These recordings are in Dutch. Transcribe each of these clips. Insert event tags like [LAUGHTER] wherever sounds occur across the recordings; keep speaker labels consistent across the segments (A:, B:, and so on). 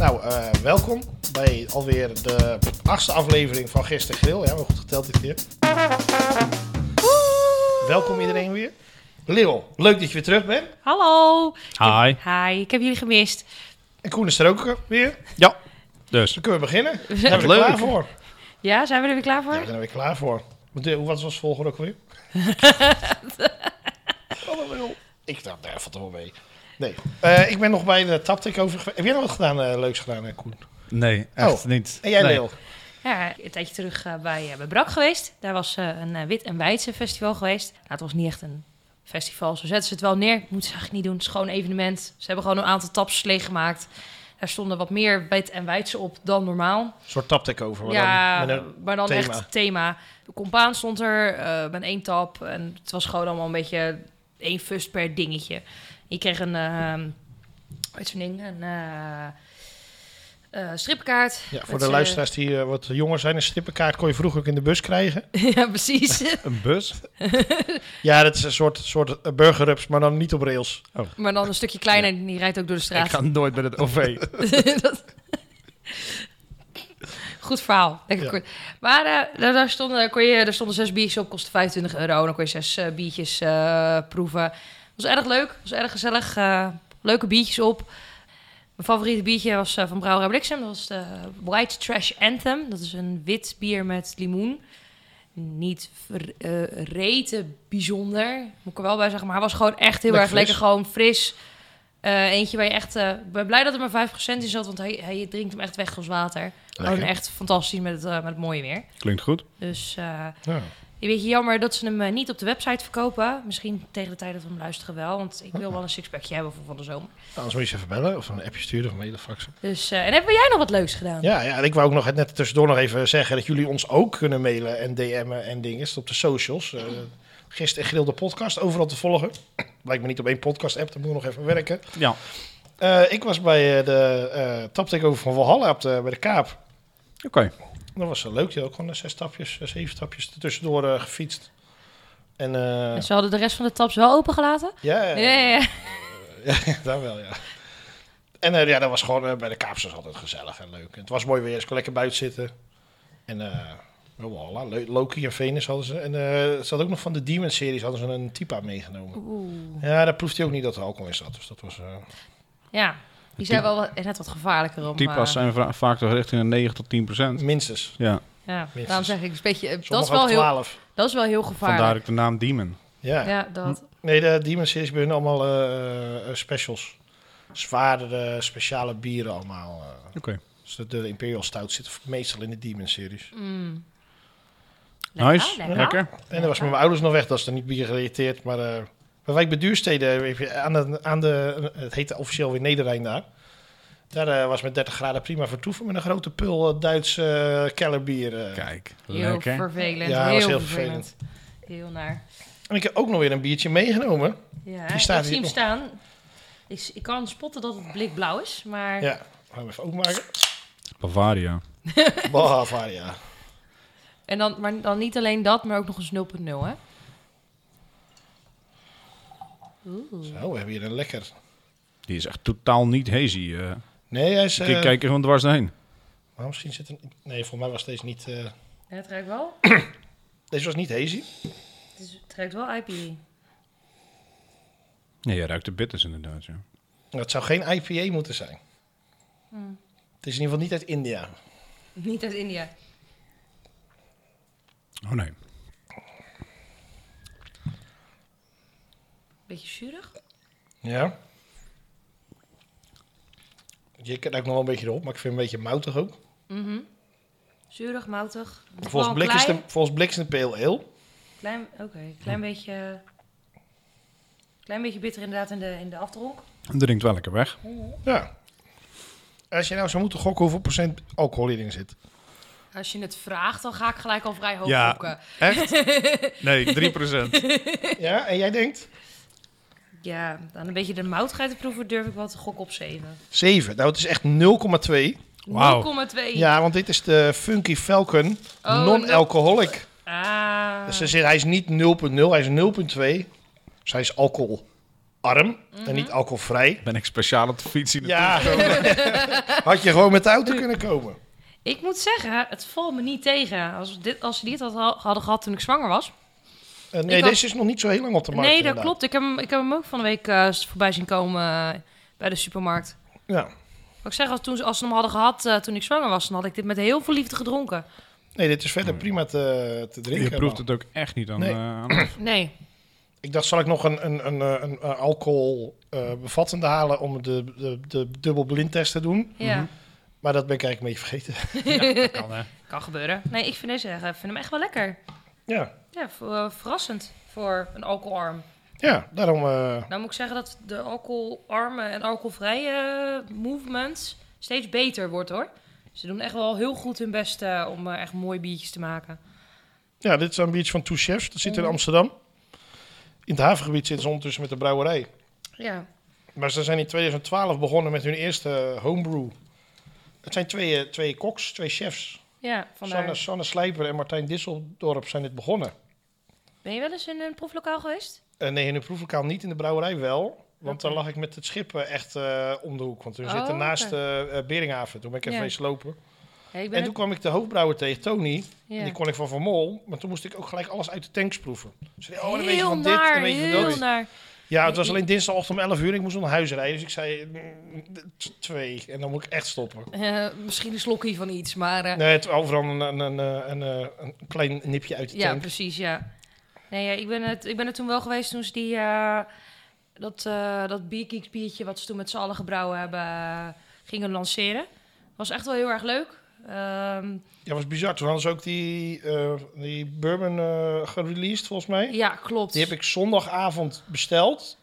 A: eh, welkom bij alweer de achtste aflevering van Gisteren Grill. Ja, we goed geteld dit keer. Welkom iedereen weer. Leon, leuk dat je weer terug bent.
B: Hallo.
C: Hi.
B: Hi, ik heb jullie gemist.
A: En Koen is er ook weer.
C: Ja, dus.
A: Dan kunnen we beginnen. Daar
B: zijn
A: zijn we
C: leuk.
A: klaar voor.
B: [LAUGHS] Ja, zijn we er weer klaar voor?
A: Ja, we zijn er weer klaar voor. Wat de- Wat was het volgende ook weer? ik dacht, daar valt er wel mee. Nee, Eh, ik ben nog bij de Taptic over. gewe- Heb jij nog wat gedaan, eh, leuks gedaan, eh, Koen?
C: Nee, echt
A: Oh,
C: niet.
A: En jij,
C: nee.
A: Leo?
B: Ja, een tijdje terug eh, bij, eh, bij Brak geweest. Daar was eh, een eh, wit en wijdse festival geweest. Nou, het was niet echt een festival. Zo zetten ze het wel neer. Moeten ze eigenlijk niet doen. Het is gewoon een evenement. Ze hebben gewoon een aantal taps leeggemaakt. Er stonden wat meer wit en wijdse op dan normaal.
A: Een soort Taptic over. maar
B: ja,
A: dan met een-
B: maar dan
A: thema.
B: echt thema. De compaan stond er eh, met één tap. En het was gewoon allemaal een beetje één fust per dingetje. Je kreeg een, eh, hoe heet zo'n ding? Een eh, eh, stripkaart.
A: ja, voor
B: Met
A: de
B: z'n-
A: luisteraars die eh, wat jonger zijn, een strippenkaart kon je vroeger ook in de bus krijgen.
B: [LAUGHS] ja, precies. [LAUGHS]
C: Een
A: [LAUGHS]
C: bus?
A: Ja, dat is een soort, soort eh, burgerrups, maar dan niet op rails.
B: maar dan een stukje kleiner. en Die rijdt ook door de straat.
C: Ik ga nooit met het OV.
B: Dat- Goed verhaal. Lekker
A: Ja.
B: kort. Maar eh, daar, daar stonden, kon je, daar stonden zes biertjes op, kostte 25 euro. Dan kon je zes eh, biertjes eh, proeven. Het was erg leuk, het was erg gezellig. eh, leuke biertjes op. Mijn favoriete biertje was eh, van Brouwerij Bliksem. Dat was de White Trash Anthem. Dat is een wit bier met limoen. Niet ver- eh, rete bijzonder, moet ik er wel bij zeggen. Maar hij was gewoon echt heel
A: Lekker
B: erg lekker,
A: fris.
B: gewoon fris. Eh, eentje waar je echt... eh, Ik ben blij dat er maar 5% in zat, want hij, hij drinkt hem echt weg als water. Gewoon echt fantastisch met het, eh, met het mooie weer.
C: Klinkt goed.
B: Dus eh
A: Ja.
B: een beetje jammer dat ze hem eh, niet op de website verkopen. Misschien tegen de tijd dat we hem luisteren wel, want ik wil wel een sixpackje hebben voor van de zomer.
A: Anders moet je ze even bellen of een appje sturen of een hele fax.
B: Dus, eh, en hebben jij nog wat leuks gedaan?
A: Ja, ja, en ik wou ook nog net tussendoor nog even zeggen dat jullie ons ook kunnen mailen en DM'en en dingen op de socials. Eh gisteren Gril de podcast, overal te volgen. [CLEARS THROAT] Blijkt me niet op één podcast app, dan moet ik nog even werken.
C: Ja.
A: Eh, ik was bij eh, de eh taptek over van Walhalla op de- bij de Kaap.
C: Oké.
A: Dat was zo leuk, die had ook gewoon eh, zes stapjes, eh, zeven stapjes tussendoor eh, gefietst. En eh,
B: En ze Dus hadden de rest van de taps wel opengelaten?
A: ja,
B: Ja, ja, ja.
A: Ja, [LAUGHS] daar wel, ja. En eh, ja, dat was gewoon eh, bij de Kaapsters altijd gezellig en leuk. Het was mooi weer, dus ik kon lekker buiten zitten. En eh voilà, Le- Loki en Venus hadden ze. En eh ze had ook nog van de Demon-series hadden ze een typa meegenomen.
B: Oeh.
A: Ja, daar proefde hij ook niet dat er alcohol in zat. Dus dat was... eh,
B: ja. die zijn wel wat- net wat gevaarlijker om... eh,
C: Typas zijn va- vaak toch richting een 9 tot 10 procent.
A: minstens.
C: Ja,
B: ja,
A: minstens.
B: daarom zeg ik, het is een beetje, eh, dat, is
A: Sommigen
B: wel
A: ook
B: heel,
A: 12.
B: dat is wel heel
C: vandaar
B: gevaarlijk.
C: ook de naam Demon.
A: Ja.
B: Ja, dat.
A: Nee, de Demon-series bij hun allemaal eh, eh, specials. Zwaardere, speciale bieren allemaal. eh.
C: Oké.
A: Dus de, de Imperial Stout zit meestal in de Demon-series.
B: Mm. Lekker,
C: Nice.
B: lekker.
C: Lekker.
A: En dan was met mijn ouders nog weg, dat is er niet bier gerelateerd. Maar eh bij Wijk bij Duurstede, heb je aan de, aan de, het heette officieel weer Nederrijn daar. Daar eh, was met 30 graden prima vertoeven met een grote pul eh, Duits eh, kellerbier. eh.
C: Kijk.
B: Heel
C: Lekker.
B: vervelend.
A: Ja, dat
B: heel
A: was heel
B: vervelend. Heel naar.
A: En ik heb ook nog weer een biertje meegenomen.
B: Ja,
A: Die staat
B: ik zie hem
A: hier
B: staan. Ik, ik kan spotten dat het blikblauw is, maar
A: Ja, gaan we even openmaken.
C: Bavaria.
A: Bavaria.
B: en dan, maar dan niet alleen dat, maar ook nog eens 0.0, hè? Oeh.
A: Zo, we hebben hier een lekker...
C: Die is echt totaal niet hazy. eh.
A: Nee, hij is... eh,
C: Ik kijk er gewoon dwars doorheen.
A: Maar misschien zit er... Nee, voor mij was deze niet... eh,
B: Ja, het ruikt wel.
A: deze was niet hazy.
B: Het, is, het ruikt wel IPA.
C: Nee, je ruikt de bitters inderdaad, ja.
A: Nou, Het zou geen IPA moeten zijn.
B: Hmm.
A: Het is in ieder geval niet uit India.
B: Niet uit India.
C: Oh nee.
B: Beetje zuurig.
A: Ja. Je ruikt nog wel een beetje erop, maar ik vind hem een beetje moutig ook.
B: Mhm. Zuurig, moutig. Het is wel
A: Volgens
B: een
A: Blik, is de,
B: klein,
A: volgens Blik is het een pale ale.
B: klein, Oké, klein beetje... Klein beetje bitter inderdaad in de, in de aftronk.
C: Dat drinkt wel lekker weg.
A: Ja. Als je nou zou moeten gokken hoeveel procent alcohol hierin
B: [LAUGHS]
A: zit.
B: Als je het vraagt, dan ga ik gelijk al vrij hoog
C: Ja.
B: gokken. [LAUGHS]
C: Echt? Nee, 3 procent.
A: ja, en jij denkt?
B: Ja, dan een beetje de moutigheid te proeven durf ik wel te gokken op 7.
A: 7. Nou, het is echt 0,2.
C: Wauw.
B: 0,2.
A: Ja, want dit is de Funky Falcon
B: Oh,
A: non-alcoholic.
B: Ah.
A: eh, Dus hij is- hij is niet 0,0, hij is 0,2. Dus hij is alcohol alcoholarm
B: Mhm.
A: en niet alcoholvrij.
C: Ben ik speciaal op de fiets in de
A: Ja, [LAUGHS] had je gewoon met de auto kunnen komen.
B: Ik moet zeggen, het valt me niet tegen. Als, dit, als ze dit had- hadden gehad toen ik zwanger was.
A: Eh, nee,
B: Ik had-
A: deze is nog niet zo heel lang op de markt.
B: nee, dat
A: inderdaad.
B: klopt. Ik heb, hem- ik heb hem ook van de week eh, voorbij zien komen eh, bij de supermarkt.
A: Ja.
B: Wat ik zeg, als, toen, ze- als ze hem hadden gehad eh, toen ik zwanger was, dan had ik dit met heel veel liefde gedronken.
A: Nee, dit is verder prima te, te drinken.
C: Je proeft
A: man.
C: het ook echt niet aan.
A: Nee.
C: eh, aan-
B: Nee.
A: Ik dacht, zal ik nog een, een, een, eh, een eh, alcohol eh, bevattende halen om de, de, de dubbel blindtest te doen. Mhm.
B: Ja.
A: Maar dat ben ik eigenlijk een beetje vergeten. [LAUGHS]
B: Kan gebeuren. Nee, ik vind deze echt, ik vind hem echt wel lekker.
A: ja.
B: Ja, v- eh, verrassend voor een alcoholarm.
A: ja, daarom... eh,
B: Nou moet ik zeggen dat de alcoholarme en alcoholvrije movement steeds beter wordt hoor. Ze doen echt wel heel goed hun best eh, om eh, echt mooie biertjes te maken.
A: ja, dit is een biertje van Two Chefs. Dat zit in
B: Mhm.
A: Amsterdam. In het havengebied zitten ze ondertussen met de brouwerij.
B: Ja.
A: Maar ze zijn in 2012 begonnen met hun eerste eh, homebrew. Het zijn twee, eh, twee koks, twee chefs.
B: Ja,
A: Sanne,
B: vandaar.
A: Sanne Slijper en Martijn Disseldorp zijn dit begonnen.
B: Ben je wel eens in een proeflokaal geweest?
A: Eh, nee, in de proeflokaal niet, in de brouwerij wel. Want
B: Oké.
A: dan lag ik met het schip eh, echt eh, om de hoek. Want we
B: Oh,
A: zitten naast
B: oké.
A: eh, eh, Beringhaven. Toen ben ik even
B: Ja.
A: eens lopen.
B: Ja, ik
A: En
B: ben
A: toen
B: het-
A: kwam ik de hoofdbrouwer tegen, Tony. En
B: ja.
A: die kon ik van Van Mol. Maar toen moest ik ook gelijk alles uit de tanks proeven. Dus ik zei, oh, dan weet je
B: heel
A: van dit,
B: naar,
A: dan weet je van
B: heel
A: dat.
B: naar.
A: Ja, het was alleen dinsdagochtend om 11 uur. Ik moest nog naar huis rijden. Dus ik zei, mm, t- twee. En dan moet ik echt stoppen.
B: Eh, misschien een slokje van iets, maar... eh,
A: Nee, het, overal een, een, een, eh, een, eh, een klein nipje uit de
B: Ja,
A: tank.
B: precies, ja. Nee, ja, ik, ben het, ik ben er toen wel geweest toen ze die, eh, dat, eh dat Biergeeks biertje wat ze toen met z'n allen gebrouwen hebben, eh, gingen lanceren. Was echt wel heel erg leuk. Ehm,
A: Ja, was bizar. Toen hadden ze ook die, eh, die bourbon eh, gereleased, volgens mij.
B: ja, klopt.
A: Die heb ik zondagavond besteld.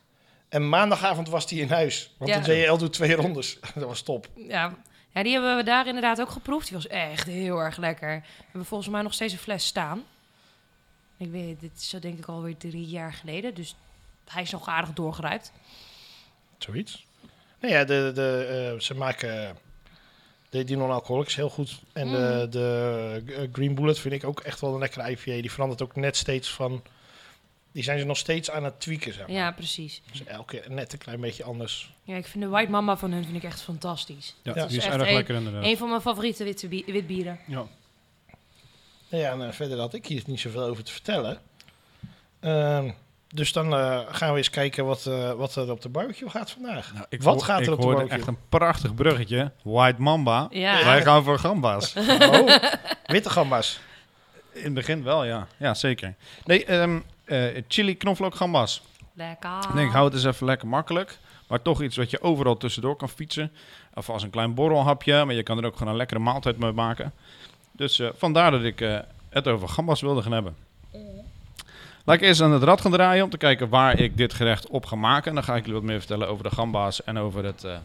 A: En maandagavond was die in huis. Want
B: Ja.
A: toen deed je doet twee rondes. [LAUGHS] Dat was top.
B: ja. ja, die hebben we daar inderdaad ook geproefd. Die was echt heel erg lekker. We hebben volgens mij nog steeds een fles staan. Ik weet, dit is zo denk ik alweer drie jaar geleden, dus hij is nog aardig doorgeruipt.
A: Zoiets. Nou ja, de, de, eh, ze maken de, die non-alcoholics heel goed. En
B: Mm.
A: de, de eh, Green Bullet vind ik ook echt wel een lekkere IPA. Die verandert ook net steeds van... Die zijn ze nog steeds aan het tweaken, zeg maar.
B: Ja, precies.
A: Dus elke keer net een klein beetje anders.
B: Ja, ik vind de White Mama van hun vind ik echt fantastisch.
A: Dat
C: Ja, die
B: is
C: is
B: echt
C: erg
B: een-
C: lekker inderdaad.
B: Een van mijn favoriete witte bi- witbieren.
C: Ja.
A: Nou ja, en eh, verder had ik hier niet zoveel over te vertellen. Ehm, dus dan eh, gaan we eens kijken wat, eh, wat er op de barbecue gaat vandaag.
C: [LAUGHS] Nou, ik
A: Wat
C: hoor-
A: gaat er
C: ik
A: op de
C: hoorde
A: barbecue?
C: echt een prachtig bruggetje. White Mamba.
B: Ja.
C: Wij gaan voor gamba's.
A: Oh, witte gambas.
C: In het begin wel, ja. Ja, zeker. Nee, ehm, eh, chili, knoflook, gamba's.
B: Lekker.
C: Ik denk, hou het eens even lekker makkelijk. Maar toch iets wat je overal tussendoor kan fietsen. Of als een klein borrelhapje. Maar je kan er ook gewoon een lekkere maaltijd mee maken. Dus eh, vandaar dat ik eh, het over gambas wilde gaan hebben. Laat ik eerst aan het rad gaan draaien om te kijken waar ik dit gerecht op ga maken. En dan ga ik jullie wat meer vertellen over de gamba's en over het, eh,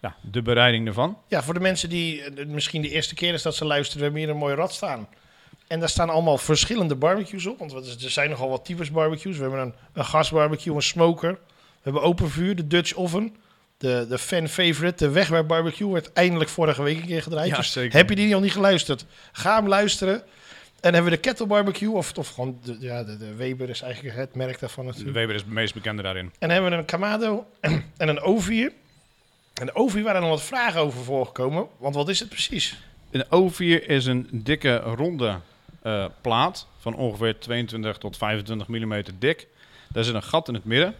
C: ja, de bereiding ervan.
A: Ja, voor de mensen die eh, misschien de eerste keer is dat ze luisteren, we hebben hier een mooi rad staan. En daar staan allemaal verschillende barbecues op. Want wat is- er zijn nogal wat types barbecues. We hebben een, een gasbarbecue, een smoker. We hebben open vuur, de Dutch oven. De, de fan favorite, de wegwerpbarbecue, werd eindelijk vorige week een keer gedraaid. Dus
C: zeker.
A: heb je die nog niet geluisterd? Ga hem luisteren. En dan hebben we de kettle barbecue, of, of gewoon de, ja, de, de Weber is eigenlijk het merk daarvan
C: De
A: natuurlijk.
C: Weber is het meest bekende daarin.
A: En dan hebben we een Kamado [CLEARS THROAT] en een O4. En de O4 waren er nog wat vragen over voorgekomen. Want wat is het precies?
C: Een O4 is een dikke ronde eh, plaat van ongeveer 22 tot 25 mm dik. Daar zit een gat in het midden.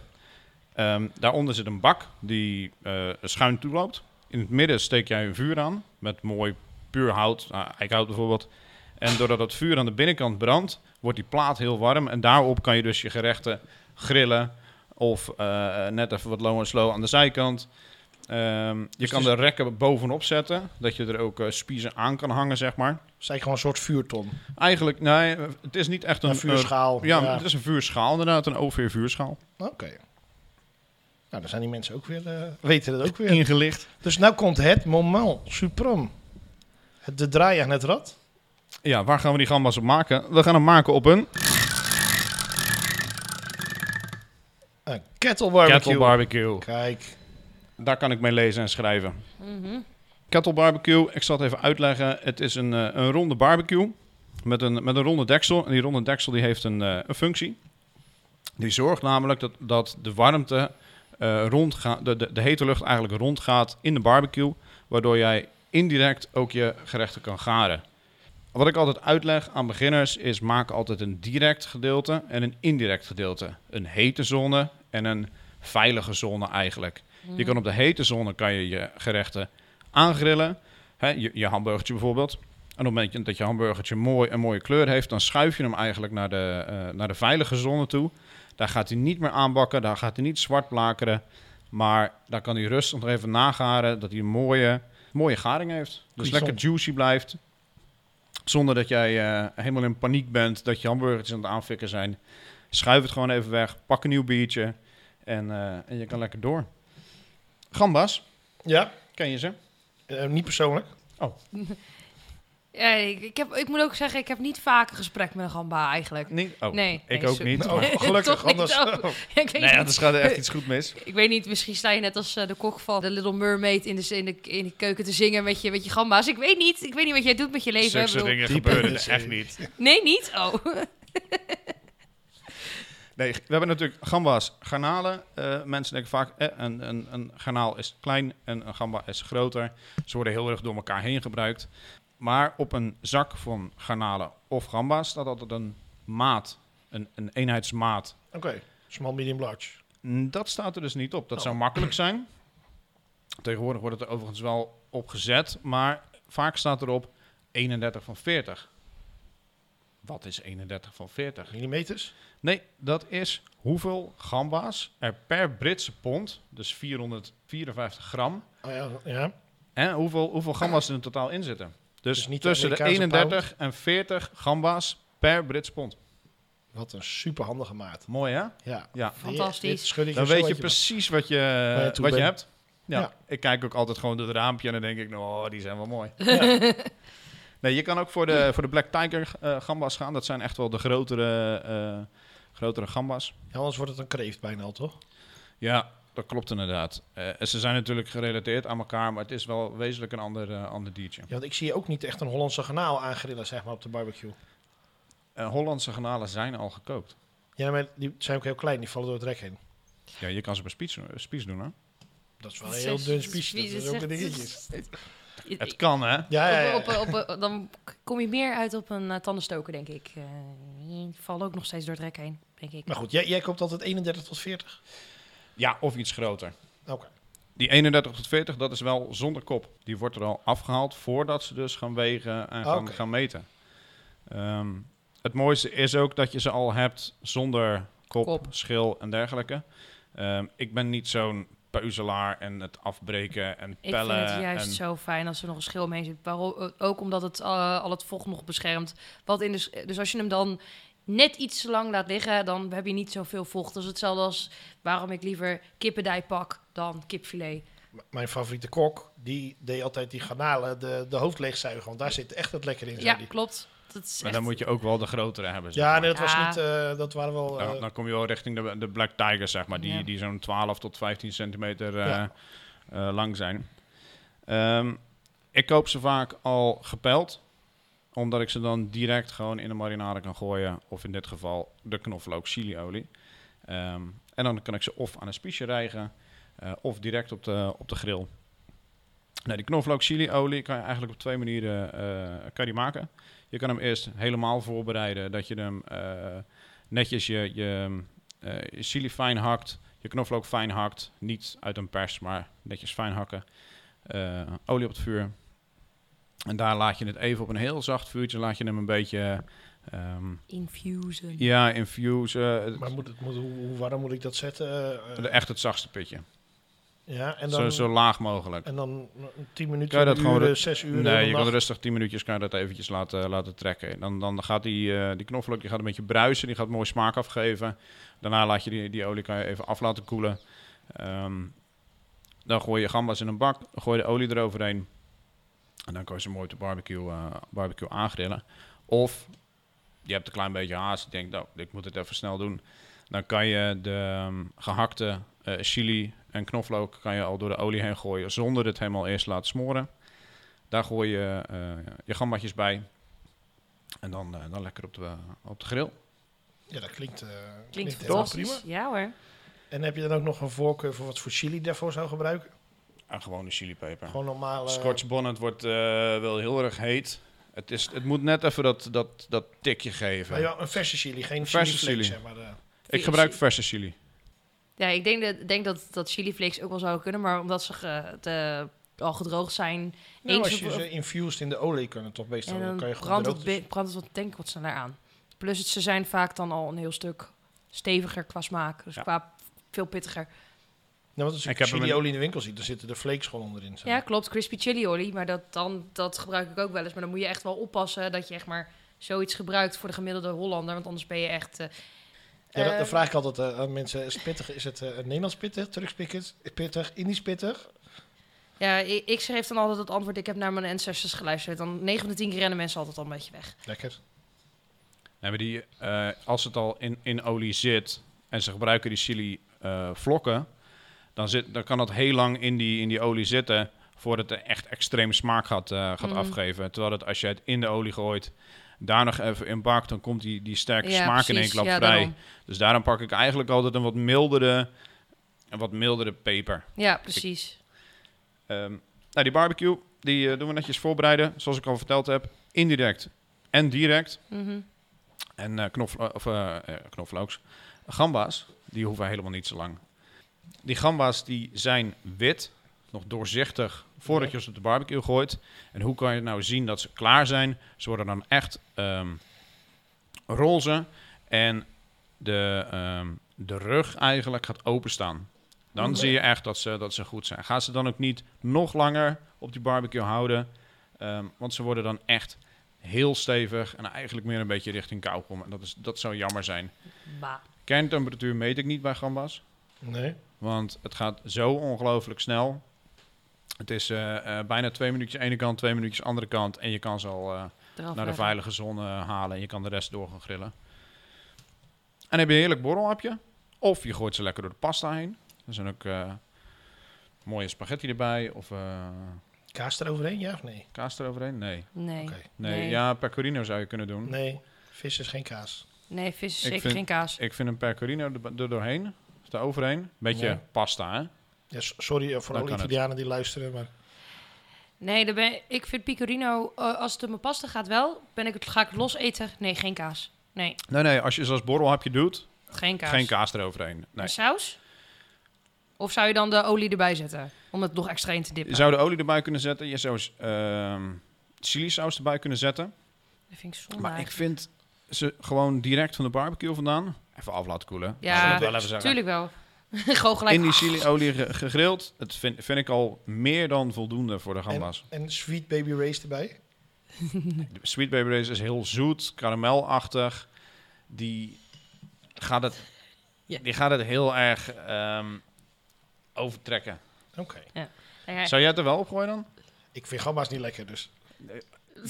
C: Ehm, daaronder zit een bak die eh, schuin toeloopt. In het midden steek jij een vuur aan met mooi puur hout, nou, eikhout bijvoorbeeld. En doordat het vuur aan de binnenkant brandt, wordt die plaat heel warm. En daarop kan je dus je gerechten grillen of eh, net even wat low en slow aan de zijkant. Ehm, je
A: Dus
C: kan
A: het is-
C: de rekken bovenop zetten, dat je er ook eh, spiezen aan kan hangen, zeg maar.
A: Het is eigenlijk gewoon een soort vuurton.
C: Eigenlijk, nee, eh, het is niet echt een,
A: Een vuurschaal.
C: eh, ja, het is een vuurschaal inderdaad, een over vuurschaal.
A: Oké. Nou, dan zijn die mensen ook weer, eh, weten dat ook weer.
C: Ingelicht.
A: Dus nu komt het moment suprême. Het- De draai aan het rad.
C: Ja, waar gaan we die gambas op maken? We gaan hem maken op een
A: Een kettle barbecue.
C: kettle barbecue.
A: Kijk.
C: Daar kan ik mee lezen en schrijven.
B: Mhm.
C: Kettle barbecue, ik zal het even uitleggen. Het is een, eh, een ronde barbecue met een, met een ronde deksel. En die ronde deksel die heeft een, eh, een functie. Die zorgt namelijk dat, dat de warmte eh, rondga- de, de, de hete lucht eigenlijk rondgaat in de barbecue, waardoor jij indirect ook je gerechten kan garen. Wat ik altijd uitleg aan beginners is maak altijd een direct gedeelte en een indirect gedeelte. Een hete zone en een veilige zone eigenlijk.
B: Mm.
C: Je kan op de hete zone kan je, je gerechten aangrillen. Hè, je, je hamburgertje bijvoorbeeld. En op het moment dat je hamburgertje mooi, een mooie kleur heeft, dan schuif je hem eigenlijk naar de, eh, naar de veilige zone toe. Daar gaat hij niet meer aanbakken, daar gaat hij niet zwart blakeren. Maar daar kan hij rustig nog even nagaren dat hij een mooie, mooie garing heeft. Dus
A: Cuisson.
C: lekker juicy blijft. Zonder dat jij eh, helemaal in paniek bent dat je hamburgertjes aan het aanfikken zijn. Schuif het gewoon even weg, pak een nieuw biertje en, eh, en je kan lekker door. Gambas,
A: Ja,
C: ken je ze?
A: eh, niet persoonlijk.
B: Ja, ik, ik, heb, ik moet ook zeggen, ik heb niet vaak een gesprek met een gamba eigenlijk.
C: Nee. Oh,
B: nee,
C: ik
B: nee,
C: ook
B: zo- [LAUGHS]
C: niet.
A: Oh,
C: maar-
A: gelukkig,
B: Toch niet
A: anders...
B: ook. [LAUGHS] ik, weet
C: Nee,
B: niet,
C: anders gaat er echt iets goed mis.
B: ik weet niet, misschien sta je net als eh, de kok van de Little Mermaid in de, in de, in de keuken te zingen met je, met je gamba's. Ik weet niet, ik weet niet wat jij doet met je leven. hè,
C: Zulke soort
B: bedoel-
C: dingen
A: Die
C: gebeuren
A: mensen.
C: echt niet.
B: nee, niet? Oh. [LAUGHS]
C: Nee, we hebben natuurlijk gamba's, garnalen. Eh, mensen denken vaak, eh, een, een, een garnaal is klein en een gamba is groter. Ze worden heel erg door elkaar heen gebruikt. Maar op een zak van garnalen of gamba's staat altijd een maat, een, een eenheidsmaat.
A: [LAUGHS] Oké, small, medium, large.
C: Mm, Dat staat er dus niet op. Dat
A: Oh.
C: zou makkelijk zijn. Tegenwoordig wordt het er overigens wel opgezet, maar vaak staat erop 31 van 40. Wat is 31 van 40?
A: Millimeters?
C: Nee, dat is hoeveel gamba's er per Britse pond, dus 454 gram,
A: Oh ja, ja.
C: en hoeveel, hoeveel gamba's er in totaal in zitten. Dus,
A: Dus niet de
C: tussen de
A: Amerikaanse
C: 31 en 40 gamba's per Britse pond.
A: Wat een superhandige maat.
C: Mooi hè?
A: Ja.
C: Ja.
B: Fantastisch.
A: Dit schud ik
C: Dan
A: zo
C: weet
A: uit
C: je
A: broek.
C: precies wat je,
A: je toe
C: wat je
A: bent.
C: hebt. Ja,
A: Ja.
C: ik kijk ook altijd gewoon door het raampje en dan denk ik, nou, die zijn wel mooi.
A: Ja.
C: Nee, je kan ook voor de, voor de Black Tiger eh, gamba's gaan. Dat zijn echt wel de grotere, eh, grotere gamba's.
A: Ja, anders wordt het een kreeft bijna al, toch?
C: Ja, dat klopt inderdaad. Eh, ze zijn natuurlijk gerelateerd aan elkaar, maar het is wel wezenlijk een ander, eh, ander diertje.
A: Ja, want ik zie ook niet echt een Hollandse garnaal aangrillen, zeg maar, op de barbecue.
C: Eh, Hollandse garnalen zijn al gekookt.
A: Ja, maar die zijn ook heel klein, die vallen door het rek heen.
C: Ja, je kan ze bij spies, spies doen, hè?
A: Dat is wel een heel dun spiesje, dat is ook een dingetje.
B: [LAUGHS]
C: Het kan, hè?
A: Ja, ja, ja.
B: Op, op, op- op- dan kom je meer uit op een eh, tandenstoker, denk ik. Eh die vallen ook nog steeds door het rek heen, denk ik.
A: Maar goed, jij, jij koopt altijd 31 tot 40.
C: Ja, of iets groter.
A: Oké.
C: Die 31 tot 40, dat is wel zonder kop. Die wordt er al afgehaald voordat ze dus gaan wegen en gaan,
A: Oké.
C: gaan meten. Ehm, het mooiste is ook dat je ze al hebt zonder kop,
B: Kop.
C: schil en dergelijke. Ehm, ik ben niet zo'n peuzelaar en het afbreken en
B: Ik
C: pellen.
B: vind het juist
C: en-
B: zo fijn als er nog een schil mee zit. Waarom- ook omdat het eh, al het vocht nog beschermt. Wat in de, s- dus als je hem dan net iets te lang laat liggen, dan heb je niet zoveel vocht. Dat is hetzelfde als waarom ik liever kippendij pak dan kipfilet.
A: M- Mijn favoriete kok, die deed altijd die garnalen de, de hoofd leegzuigen, want daar zit echt het lekker in, zei
B: Ja,
A: die.
B: klopt. Dat is
C: Maar
B: echt-
C: dan moet je ook wel de grotere hebben. zeg
A: Ja,
C: maar.
A: nee, dat was
B: Ja.
A: niet, eh, dat waren wel... eh,
C: dan, dan kom je wel richting de, de Black Tigers, zeg maar. Die,
B: Ja.
C: die zo'n 12 tot 15 centimeter eh,
A: Ja.
C: eh, lang zijn. Ehm, ik koop ze vaak al gepeld. Omdat ik ze dan direct gewoon in de marinade kan gooien. Of in dit geval de knoflook chiliolie. Ehm, en dan kan ik ze of aan een spiesje rijgen. eh, of direct op de, op de grill. Nou, die knoflook chiliolie kan je eigenlijk op twee manieren eh, kan je die maken. Je kan hem eerst helemaal voorbereiden. Dat je hem eh, netjes je, je, eh, je chili fijn hakt, je knoflook fijn hakt. Niet uit een pers, maar netjes fijn hakken. Eh, olie op het vuur. En daar laat je het even op een heel zacht vuurtje. Laat je hem een beetje ehm,
B: Infusen.
C: ja, infusen.
A: maar moet het, moet, hoe, hoe warm moet ik dat zetten? Eh, eh,
C: Eh, Echt het zachtste pitje.
A: ja, en
C: zo,
A: dan,
C: zo laag mogelijk.
A: en dan eh, 10
C: Kan je
A: minuten,
C: dat
A: dat
C: gewoon
A: uur,
C: ru-
A: 6 uur, eh,
C: Nee, je kan rustig 10 minuutjes kan je dat eventjes laten, laten trekken. Dan, dan gaat die, eh die knoflook die gaat een beetje bruisen, die gaat mooi smaak afgeven. Daarna laat je die, die olie kan je even af laten koelen. Ehm, dan gooi je gambas in een bak, gooi je de olie eroverheen. En dan kan je ze mooi op de barbecue, eh, barbecue aangrillen. Of je hebt een klein beetje haast, je denkt, nou, ik moet het even snel doen. Dan kan je de ehm, gehakte eh, chili en knoflook kan je al door de olie heen gooien zonder het helemaal eerst te laten smoren. Daar gooi je eh, je gambatjes bij. En dan, eh, dan lekker op de, op de grill.
A: Ja, dat klinkt, eh, klinkt,
B: Klinkt
A: helemaal
B: fantastisch.
A: prima.
B: Ja hoor.
A: En heb je dan ook nog een voorkeur voor wat voor chili daarvoor zou gebruiken?
C: En gewoon de chilipeper.
A: Gewoon eh, normaal.
C: Scotch bonnet wordt eh, wel heel erg heet. Het, is, het moet net even dat, dat, dat tikje geven.
A: Maar ja, een verse chili, geen
C: Verse
A: chili, flakes, Zeg
C: chili.
A: maar, eh.
C: Ik gebruik verse chili.
B: Ja, ik denk dat, denk dat, dat chiliflakes ook wel zouden kunnen, maar omdat ze ge- te- al gedroogd zijn,
A: Nou,
B: Eentje
A: als je
B: voor-
A: ze infused in de olie kunnen, toch meestal
B: en
A: dan kan je
B: dan
A: gewoon
B: brandt
A: erop
B: het,
A: dus-
B: be- brandt het wat denk ik wat sneller aan. Plus het, ze zijn vaak dan al een heel stuk steviger qua smaak, dus
C: Ja.
B: qua veel pittiger.
A: Nou, want als
C: Ik
A: ik,
C: heb hem in-
A: chili olie in de winkel zie, dan zitten de flakes gewoon onderin. zeg
B: Ja,
A: maar.
B: klopt, crispy chili olie, maar dat, dan, dat gebruik ik ook wel eens. Maar dan moet je echt wel oppassen dat je echt maar zoiets gebruikt voor de gemiddelde Hollander, want anders ben je echt... eh,
A: Ja, dat,
B: eh,
A: dan vraag ik altijd eh, aan mensen, is, het pittig, is het eh, Nederlands pittig, Turks pittig, pittig, Indisch pittig?
B: Ja, ik, ik schreef dan altijd het antwoord, ik heb naar mijn ancestors geluisterd. Dan 9 van de 10 keer rennen mensen altijd al een beetje weg.
A: Lekker.
C: Nee, maar die, eh, als het al in, in olie zit en ze gebruiken die chili eh, vlokken, dan, zit, dan kan dat heel lang in die, in die olie zitten voordat het echt extreem smaak gaat, eh, gaat
B: Mm.
C: afgeven. Terwijl het, als je het in de olie gooit, daar nog even in bakt, dan komt die, die sterke smaak in één klap
B: ja,
C: vrij.
B: daarom.
C: Dus daarom pak ik eigenlijk altijd een wat mildere, een wat mildere peper.
B: Ja, precies.
C: Ehm, nou, die barbecue, die eh, doen we netjes voorbereiden, zoals ik al verteld heb, indirect en direct.
B: Mhm.
C: En eh, knoflo of, eh, eh, knoflooks. Gamba's, die hoeven helemaal niet zo lang. Die gamba's die zijn wit, nog doorzichtig, voordat je ze op de barbecue gooit. En hoe kan je nou zien dat ze klaar zijn? Ze worden dan echt ehm, roze en de, ehm, de rug eigenlijk gaat openstaan. Dan
A: Oké.
C: zie je echt dat ze, dat ze goed zijn. Ga ze dan ook niet nog langer op die barbecue houden, ehm, want ze worden dan echt heel stevig en eigenlijk meer een beetje richting kou komen. En dat, is, dat zou jammer zijn.
B: Bah.
C: Kerntemperatuur meet ik niet bij gamba's,
A: Nee.
C: want het gaat zo ongelooflijk snel. Het is eh, eh, bijna twee minuutjes ene kant, twee minuutjes andere kant. En je kan ze al eh,
B: Eraf
C: naar de
B: weg.
C: veilige zon eh, halen en je kan de rest door gaan grillen. En heb je een heerlijk borrelhapje. Of je gooit ze lekker door de pasta heen. Er zijn ook eh, mooie spaghetti erbij of eh,
A: Kaas eroverheen, ja of nee?
C: kaas eroverheen. Nee.
B: Nee.
A: Oké.
C: nee,
B: Nee.
C: ja, pecorino zou je kunnen doen.
A: Nee, vis is geen kaas.
B: Nee, vis is
C: Ik
B: zeker
C: vind-
B: geen kaas.
C: Ik vind een pecorino er er doorheen, of er overheen. Beetje
A: Ja.
C: pasta, hè?
A: Ja, s- sorry eh, voor
C: Dan
A: alle
C: kan het.
A: Italianen die luisteren, maar
B: Nee, daar ben, ik vind pecorino, eh, als het op mijn pasta gaat wel, ben ik het, ga ik het los eten. Nee, geen kaas. Nee,
C: Nee, nee, als je zoals borrelhapje doet,
B: geen kaas.
C: geen kaas eroverheen. Nee.
B: Een saus? Of zou je dan de olie erbij zetten? Om het nog extra in te dippen.
C: Je zou de olie erbij kunnen zetten. Je zou ehm chili saus erbij kunnen zetten.
B: Dat vind ik zonde.
C: Maar ik
B: eigenlijk.
C: vind ze gewoon direct van de barbecue vandaan. Even af laten koelen.
B: Ja,
C: Laten we dat wel even zeggen.
B: Tuurlijk wel. [LAUGHS] Gewoon gelijk.
C: In die chiliolie ge- gegrild. Dat vind, vind ik al meer dan voldoende voor de gamba's.
A: en Sweet Baby Race erbij.
C: De Sweet Baby Race is heel zoet, karamelachtig. Die gaat het,
B: Ja.
C: die gaat het heel erg ehm, overtrekken.
A: Oké.
B: Ja, ja.
C: Zou jij het er wel op gooien dan?
A: Ik vind gamba's niet lekker, dus.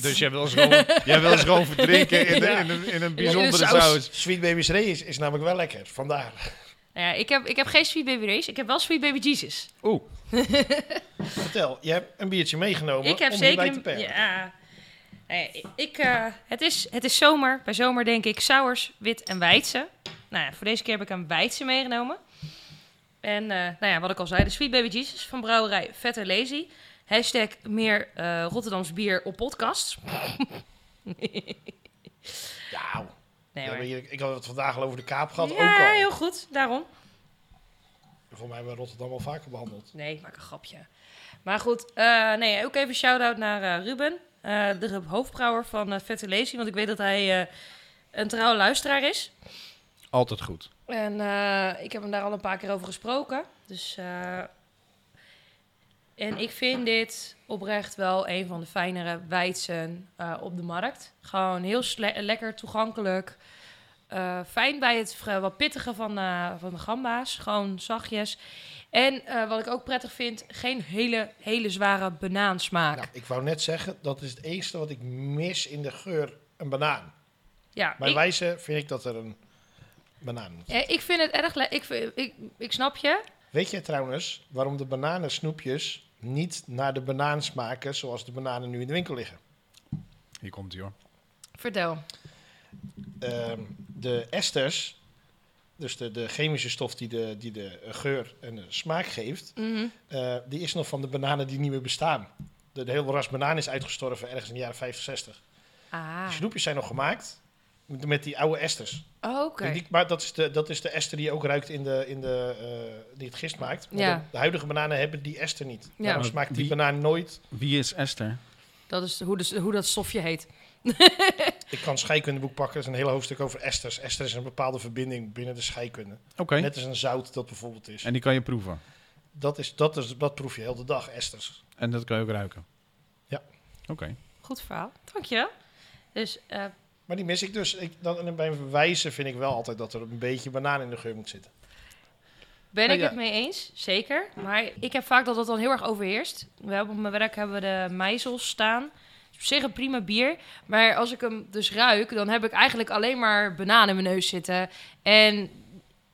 C: Dus jij wil ze gewoon, jij wil ze gewoon verdrinken in,
A: Ja.
C: in, een, in een
B: In
C: bijzondere
B: een
C: saus.
B: saus.
A: Sweet Baby Race is, is namelijk wel lekker, vandaar.
B: Nou ja, ik, heb, ik heb geen Sweet Baby Race. Ik heb wel Sweet Baby Jesus.
C: Oeh,
A: Vertel, je hebt een biertje meegenomen
B: ik heb
A: om
B: zeker
A: hierbij te
B: een-
A: perken.
B: ja. Nou ja, ik, eh, het, is, het is zomer. Bij zomer denk ik sauers, wit en wijdse. Nou ja, voor deze keer heb ik een wijdse meegenomen. En eh, nou ja, wat ik al zei, de Sweet Baby Jesus van brouwerij Vetter Lazy. Hashtag meer eh Rotterdams bier op podcast.
A: Ja, ouwe.
B: Nee,
A: We
B: maar-
A: hebben hier- ik had het vandaag al over de Kaap gehad, ook
B: ja,
A: al.
B: heel goed. Daarom.
A: Volgens mij hebben we Rotterdam al vaker behandeld.
B: Nee, ik maak een grapje. Maar goed, eh, nee, ook even shout-out naar eh, Ruben, eh, de hoofdbrouwer van eh Vette Lazy. Want ik weet dat hij eh, een trouwe luisteraar is.
C: altijd goed.
B: En eh, ik heb hem daar al een paar keer over gesproken. Dus, eh, en ik vind dit oprecht wel een van de fijnere wijzen eh, op de markt. Gewoon heel sle- lekker toegankelijk. Eh, fijn bij het vra- wat pittige van, eh, van de gamba's. Gewoon zachtjes. En eh, wat ik ook prettig vind, geen hele, hele zware banaansmaak.
A: Nou, ik wou net zeggen, dat is het enige wat ik mis in de geur, een banaan.
B: ja,
A: Bij
B: ik-
A: wijze vind ik dat er een banaan moet.
B: eh, ik vind het erg lekker. Ik, vind- ik, ik snap je.
A: Weet jij trouwens waarom de bananensnoepjes niet naar de banaan smaken zoals de bananen nu in de winkel liggen?
C: Hier komt hij hoor.
B: Vertel.
A: Ehm, de esters Dus de, de chemische stof die de, die de geur en de smaak geeft,
B: Mhm.
A: eh, die is nog van de bananen die niet meer bestaan. De, de hele ras banaan is uitgestorven ergens in de jaren 50, 60. Die
B: Ah,
A: snoepjes zijn nog gemaakt met, met die oude esters.
B: oké.
A: En die- maar dat is, de, dat is de ester die je ook ruikt in de, in de, eh, die het gist maakt. Maar
B: Ja.
A: de, de huidige bananen hebben die ester niet.
B: Ja.
A: Daarom smaakt die
D: Wie-
A: banaan nooit.
D: Wie is Esther?
B: Dat is hoe, de, hoe dat stofje heet.
A: Ik kan scheikundeboek pakken. Er is een hele hoofdstuk over esters. Ester is een bepaalde verbinding binnen de scheikunde.
D: Oké.
A: Net als een zout dat bijvoorbeeld is.
D: En die kan je proeven.
A: Dat, is, dat, is, dat proef je heel de dag, esters.
D: En dat kan je ook ruiken.
A: Ja.
D: Oké.
B: Goed verhaal. Dank je. Dus eh,
A: Maar die mis ik dus. Ik, dan, en bij wijzen vind ik wel altijd dat er een beetje banaan in de geur moet zitten.
B: ben
D: Oh,
B: ik
D: ja.
B: het mee eens, zeker. Maar ik heb vaak dat dat dan heel erg overheerst. We hebben op mijn werk hebben we de meizels staan. Is Op zich een prima bier. Maar als ik hem dus ruik, dan heb ik eigenlijk alleen maar banaan in mijn neus zitten. En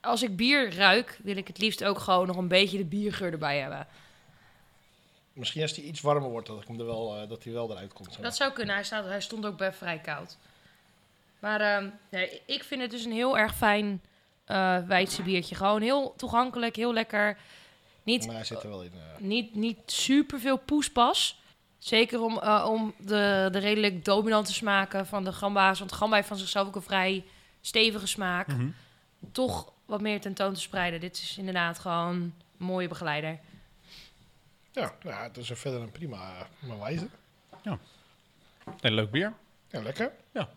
B: als ik bier ruik, wil ik het liefst ook gewoon nog een beetje de biergeur erbij hebben.
A: Misschien als die iets warmer wordt, dat, ik hem er wel, eh, dat die wel eruit komt. zeg maar.
B: Dat zou kunnen. Hij, staat, hij stond ook bij vrij koud. Maar ehm, nee, ik vind het dus een heel erg fijn eh Weidse biertje. Gewoon heel toegankelijk, heel lekker. Niet,
A: Maar hij zit er wel in. eh.
B: niet, niet super veel poespas. Zeker om, eh, om de, de redelijk dominante smaken van de gamba's. Want gamba heeft van zichzelf ook een vrij stevige smaak.
D: Mhm.
B: Toch wat meer tentoon te spreiden. Dit is inderdaad gewoon een mooie begeleider.
A: Ja, nou, het is verder een prima eh, maar wijze.
C: Een leuk bier.
A: Ja, lekker.
C: Ja.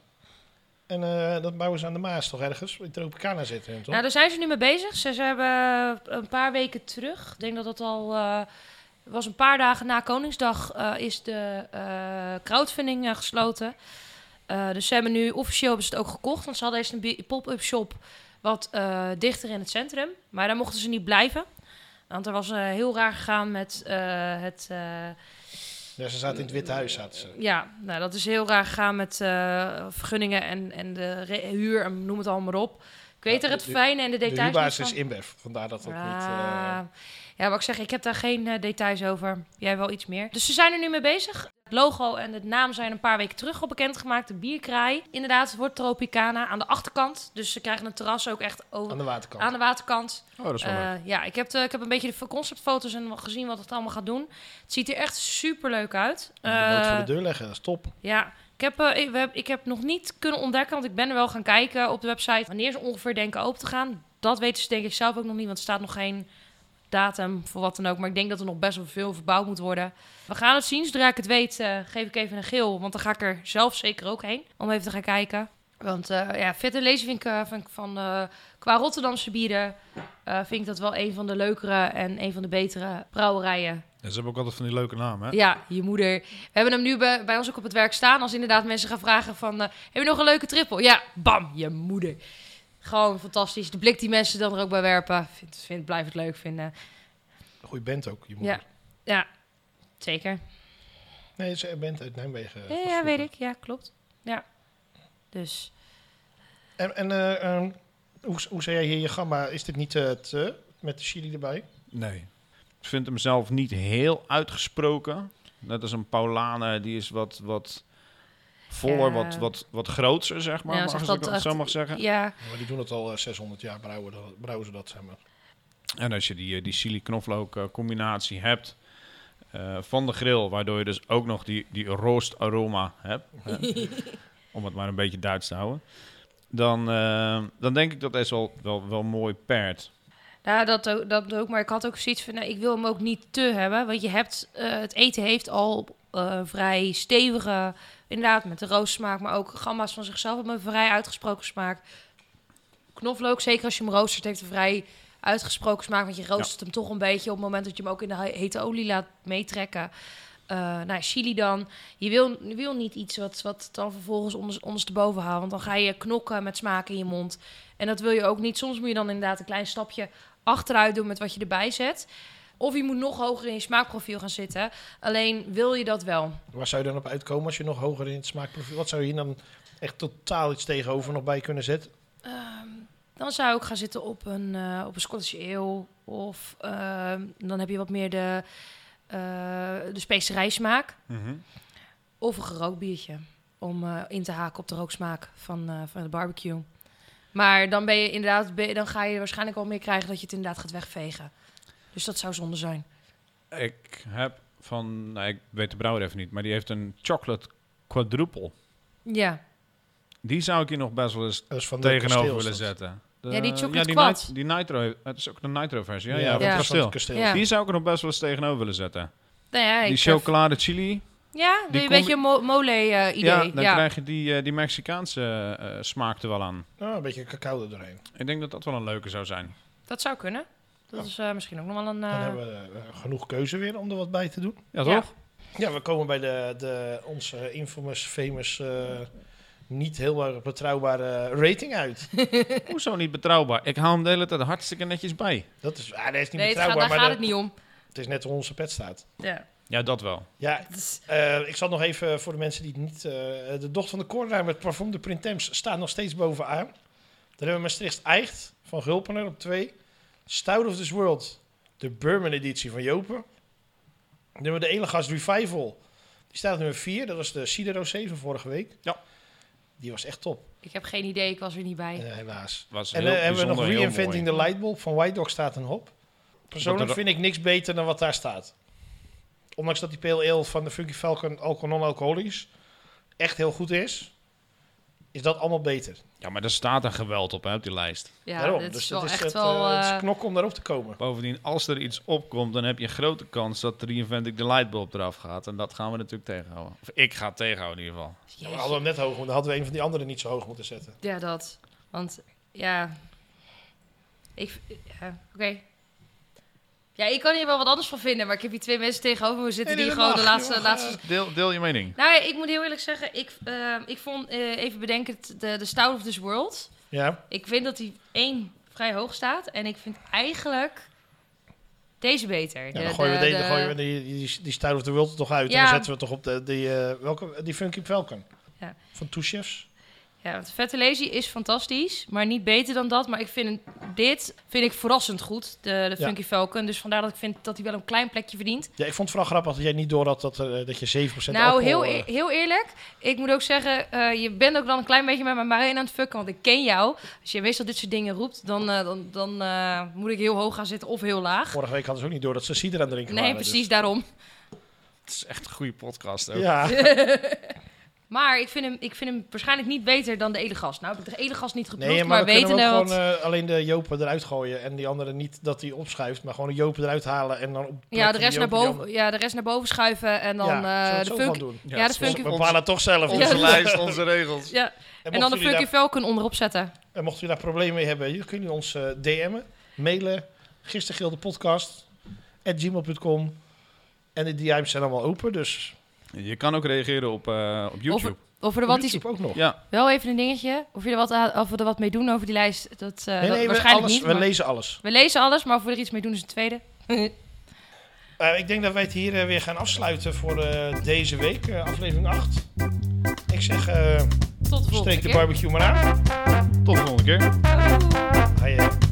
A: En eh, dat bouwen ze aan de Maas toch ergens? In Tropicana zitten hun, toch?
B: Nou, daar zijn ze nu mee bezig. Ze, ze hebben eh, een paar weken terug, ik denk dat dat al eh, was een paar dagen na Koningsdag, eh, is de eh crowdfunding eh, gesloten. Eh, dus ze hebben nu officieel hebben ze het ook gekocht, want ze hadden eerst een bi- pop-up shop wat eh, dichter in het centrum. Maar daar mochten ze niet blijven. Want er was eh, heel raar gegaan met eh, het. eh,
A: Ja, ze zaten in het Witte Huis. Zaten ze.
B: ja, nou, dat is heel raar gegaan met eh, vergunningen en, en de re- huur en noem het allemaal maar op. Ik weet
A: Ja,
B: er het
A: de-
B: fijne en de
A: De
B: details niet
A: huurbaas
B: van.
A: is Inbev, vandaar dat dat niet... eh,
B: Ah. Ja, wat ik zeg, ik heb daar geen eh, details over. Jij wel iets meer. Dus ze zijn er nu mee bezig. Het logo en de naam zijn een paar weken terug al bekendgemaakt. De bierkraai. Inderdaad, het wordt Tropicana aan de achterkant. Dus ze krijgen een terras ook echt over,
A: aan de waterkant.
B: aan de waterkant.
D: Oh, dat is wel leuk.
B: Eh, ja, ik heb, de- ik heb een beetje de conceptfoto's en wel gezien wat het allemaal gaat doen. Het ziet er echt super leuk uit.
A: de boot
B: Eh,
A: voor de deur leggen, dat is top.
B: ja, ik heb, eh, ik, we heb, ik heb nog niet kunnen ontdekken, want ik ben er wel gaan kijken op de website wanneer ze ongeveer denken open te gaan. Dat weten ze denk ik zelf ook nog niet, want er staat nog geen datum voor wat dan ook. Maar ik denk dat er nog best wel veel verbouwd moet worden. We gaan het zien. Zodra ik het weet, eh, geef ik even een geel, want dan ga ik er zelf zeker ook heen om even te gaan kijken. Want eh, ja, vet en lezen vind ik eh, vind ik van, eh, qua Rotterdamse bieren eh, vind ik dat wel een van de leukere en een van de betere brouwerijen
C: En ze hebben ook altijd van die leuke namen, hè?
B: ja, je moeder. We hebben hem nu bij, bij ons ook op het werk staan. Als inderdaad mensen gaan vragen van... eh, heb je nog een leuke trippel? Ja, bam, je moeder. Gewoon fantastisch. De blik die mensen dan er ook bij werpen. Vind, vind, blijf het leuk vinden.
A: Goeie band ook, je moeder.
B: Ja, ja zeker.
A: Nee, ze een band uit Nijmegen. eh,
B: Ja, ja,
A: vroeger.
B: weet ik. Ja, klopt. Ja. Dus...
A: En, en eh, ehm, hoe, hoe zei jij hier je gamma? Is dit niet eh, het, eh, met de chili erbij?
D: Nee.
C: Ik vind hem zelf niet heel uitgesproken. Net als een Paulane, die is wat, wat
B: Ja.
C: voller, wat, wat, wat grootser, zeg maar.
B: Ja,
C: mag
B: zeg
C: als ik
B: dat
C: dat
B: echt-
C: zo mag zeggen.
B: Ja,
A: Maar die doen het al eh, 600 jaar, brouwen, dat- brouwen ze dat, zeg maar.
C: En als je die, eh, die chili-knoflook-combinatie hebt eh, van de grill, waardoor je dus ook nog die, die roostaroma hebt,
B: [LAUGHS]
C: hè, om het maar een beetje Duits te houden, dan, eh, dan denk ik dat deze wel, wel, wel mooi pairt.
B: Ja, dat ook, dat ook. Maar ik had ook zoiets van, nou, ik wil hem ook niet te hebben. Want je hebt, eh, het eten heeft al eh, vrij stevige, inderdaad, met de roossmaak. Maar ook gamma's van zichzelf hebben een vrij uitgesproken smaak. Knoflook, zeker als je hem roostert, heeft een vrij uitgesproken smaak. Want je roostert hem toch een beetje op het moment dat je hem ook in de he- hete olie laat meetrekken. Eh nou, chili dan. Je wil, je wil niet iets wat, wat dan vervolgens onders, ondersteboven haalt. Want dan ga je knokken met smaak in je mond. En dat wil je ook niet. Soms moet je dan inderdaad een klein stapje achteruit doen met wat je erbij zet. Of je moet nog hoger in je smaakprofiel gaan zitten. Alleen wil je dat wel.
A: Waar zou je dan op uitkomen als je nog hoger in het smaakprofiel... Wat zou je hier dan echt totaal iets tegenover nog bij kunnen zetten?
B: Ehm, dan zou ik gaan zitten op een, eh, op een Scottish ale. Of ehm, dan heb je wat meer de, eh de specerijsmaak. Of een gerookt biertje. Om eh, in te haken op de rooksmaak van, eh, van de barbecue. Maar dan ben je inderdaad, ben je- dan ga je waarschijnlijk wel meer krijgen dat je het inderdaad gaat wegvegen. Dus dat zou zonde zijn.
C: Ik heb van, nou, ik weet de brouwer even niet, maar die heeft een chocolate quadruple.
B: Ja,
C: Die zou ik hier nog best wel eens
A: Dat is van de
C: tegenover
A: kasteel, is
C: willen
A: dat.
C: zetten. De-
B: Ja, die chocolate
C: ja, die,
B: quad.
C: nit- die nitro, het is ook de nitro versie. Ja, ja,
A: dat
C: van
A: is
B: Ja.
C: het
A: van
C: kasteel.
A: het kasteel.
B: Ja.
C: Die zou ik er nog best wel eens tegenover willen zetten.
B: nou ja
C: die
B: ik heb-
C: chocolade chili.
B: Ja, wil je een
C: combi-
B: beetje een mo- mole eh, idee. Ja,
C: Ja,
A: nou,
C: dan krijg je die, eh, die Mexicaanse eh, smaak er wel aan.
A: Nou, een beetje cacao er doorheen.
C: Ik denk dat dat wel een leuke zou zijn.
B: dat zou kunnen. Dat is eh, misschien ook nog wel een...
A: Dan
B: eh,
A: hebben we eh, genoeg keuze weer om er wat bij te doen.
C: Ja,
B: Ja. [LAUGHS]
C: toch?
A: Ja, we komen bij de, de, onze infamous, famous, eh, niet heel erg betrouwbare rating uit.
C: Hoezo niet betrouwbaar? Ik hou hem de hele tijd hartstikke netjes bij.
A: Dat is, ah, dat is niet
B: nee, het gaat,
A: betrouwbaar,
B: daar
A: maar
B: gaat
A: dat-
B: het niet om.
A: het is net hoe onze pet staat.
B: Ja.
C: Ja, dat wel.
A: Ja,
B: Het is-
A: eh, ik zal nog even voor de mensen die het niet... eh, de dochter van de koordenaar met parfum de Printemps staat nog steeds bovenaan. Dan hebben we Maastricht Eicht van Gulpener op 2. Stout of this World, de Burman editie van Jopen. Dan hebben we de Elegast Revival. Die staat op nummer 4. Dat was de Cidero 7 vorige week.
C: Ja.
A: Die was echt top,
B: ik heb geen idee, ik was er niet bij.
A: eh, helaas.
C: Was
A: En
C: heel
A: dan hebben we nog
C: bijzonder, heel
A: Reinventing
C: mooi.
A: the Lightbulb van White Dog staat een hop. Persoonlijk
C: Dat er-
A: vind ik niks beter dan wat daar staat. Ondanks dat die pale ale van de Funky Falcon alcohol non-alcoholisch echt heel goed is, is dat allemaal beter.
C: Ja, maar er staat een geweld op, hè, op die lijst.
B: Ja,
A: Daarom.
B: dit is
A: Dus
B: wel
A: dat is
B: echt
A: het,
B: wel...
A: eh, het is
B: eh,
A: knok om daarop te komen.
C: Bovendien, als er iets opkomt, dan heb je een grote kans dat Reinventing de Lightbulb eraf gaat. En dat gaan we natuurlijk tegenhouden. Of ik ga het tegenhouden in ieder geval.
A: Ja,
B: jeetje.
A: we hadden hem net hoog, want dan hadden we een van die anderen niet zo hoog moeten zetten.
B: Ja, dat. Want ja. Ik. Ja, oké. Ja, ik kan hier wel wat anders van vinden, maar ik heb hier twee mensen tegenover me zitten
A: Nee,
B: die
A: dat
B: gewoon de
A: mag,
B: laatste.
A: joh.
B: laatste...
C: Deel, deel je mening.
B: Nou, ik moet heel eerlijk zeggen, ik, eh, ik vond eh, even bedenkend de, de Stout of this World.
A: Ja,
B: Ik vind dat die één vrij hoog staat en ik vind eigenlijk deze beter.
A: ja dan gooien we, deze, dan gooien we die, die, die Stout of the World er toch uit. En
B: Ja.
A: dan zetten we toch op de, die, eh, welke, die Funky Falcon
B: Ja.
A: van Two Chefs.
B: Ja, want Vettelezi is fantastisch, maar niet beter dan dat. Maar ik vind dit vind ik verrassend goed, de, de
A: Ja.
B: Funky Falcon. Dus vandaar dat ik vind dat hij wel een klein plekje verdient.
A: Ja, ik vond het vooral grappig dat jij niet door had dat, er, eh, dat je 7%
B: nou,
A: alcohol...
B: heel,
A: eh,
B: eer- heel eerlijk, ik moet ook zeggen, eh, je bent ook dan een klein beetje met mijn marine aan het fucken, want ik ken jou. Als je meestal dit soort dingen roept, dan, eh, dan, dan eh, moet ik heel hoog gaan zitten of heel laag.
A: Vorige week hadden ze ook niet door dat ze cider aan het drinken
B: Nee,
A: waren. dus-
B: precies daarom.
C: Het is echt een goede podcast ook.
B: [LAUGHS]
A: Ja,
B: Maar ik vind, hem, ik vind hem waarschijnlijk niet beter dan de Elegast. Nou, heb ik de Elegast niet geproefd,
A: nee, maar
B: maar,
A: we
B: weten
A: kunnen
B: we
A: ook
B: wat...
A: gewoon eh, alleen de jopen eruit gooien. En die andere niet dat die opschuift, maar gewoon de jopen eruit halen en dan op
B: ja, de rest naar boven,
A: En
B: ja, de rest naar boven schuiven en dan eh, de Funky...
A: doen.
B: Ja, de Funky...
A: We bepalen toch zelf.
B: [LAUGHS]
C: Onze
A: Ja.
C: lijst, onze regels.
B: Ja,
A: En,
B: en dan de
A: mochten jullie
B: Funky
A: daar,
B: Falcon onderop zetten.
A: en mochten jullie daar problemen mee hebben, jullie kunnen ons eh, DM'en, mailen, gistergeeldepodcast, at gmail.com. En de DM's zijn allemaal open, dus
C: Je kan ook reageren op, eh, op YouTube.
B: Of er
A: op
B: wat is
A: YouTube ook nog.
C: Ja,
B: Wel even een dingetje. Of, je er wat aan- of we er wat mee doen over die lijst. Dat, eh,
A: nee,
B: dat
A: nee, we,
B: waarschijnlijk
A: alles,
B: niet.
A: we
B: maar-
A: lezen alles.
B: we lezen alles, maar of we er iets mee doen is een tweede.
A: Eh, ik denk dat wij het hier eh, weer gaan afsluiten voor eh, deze week, eh, aflevering 8. Ik zeg, eh
B: Tot de volgende
A: steek de
B: keer.
A: barbecue maar aan.
C: tot de volgende keer.
B: Doei.
A: Hai, eh.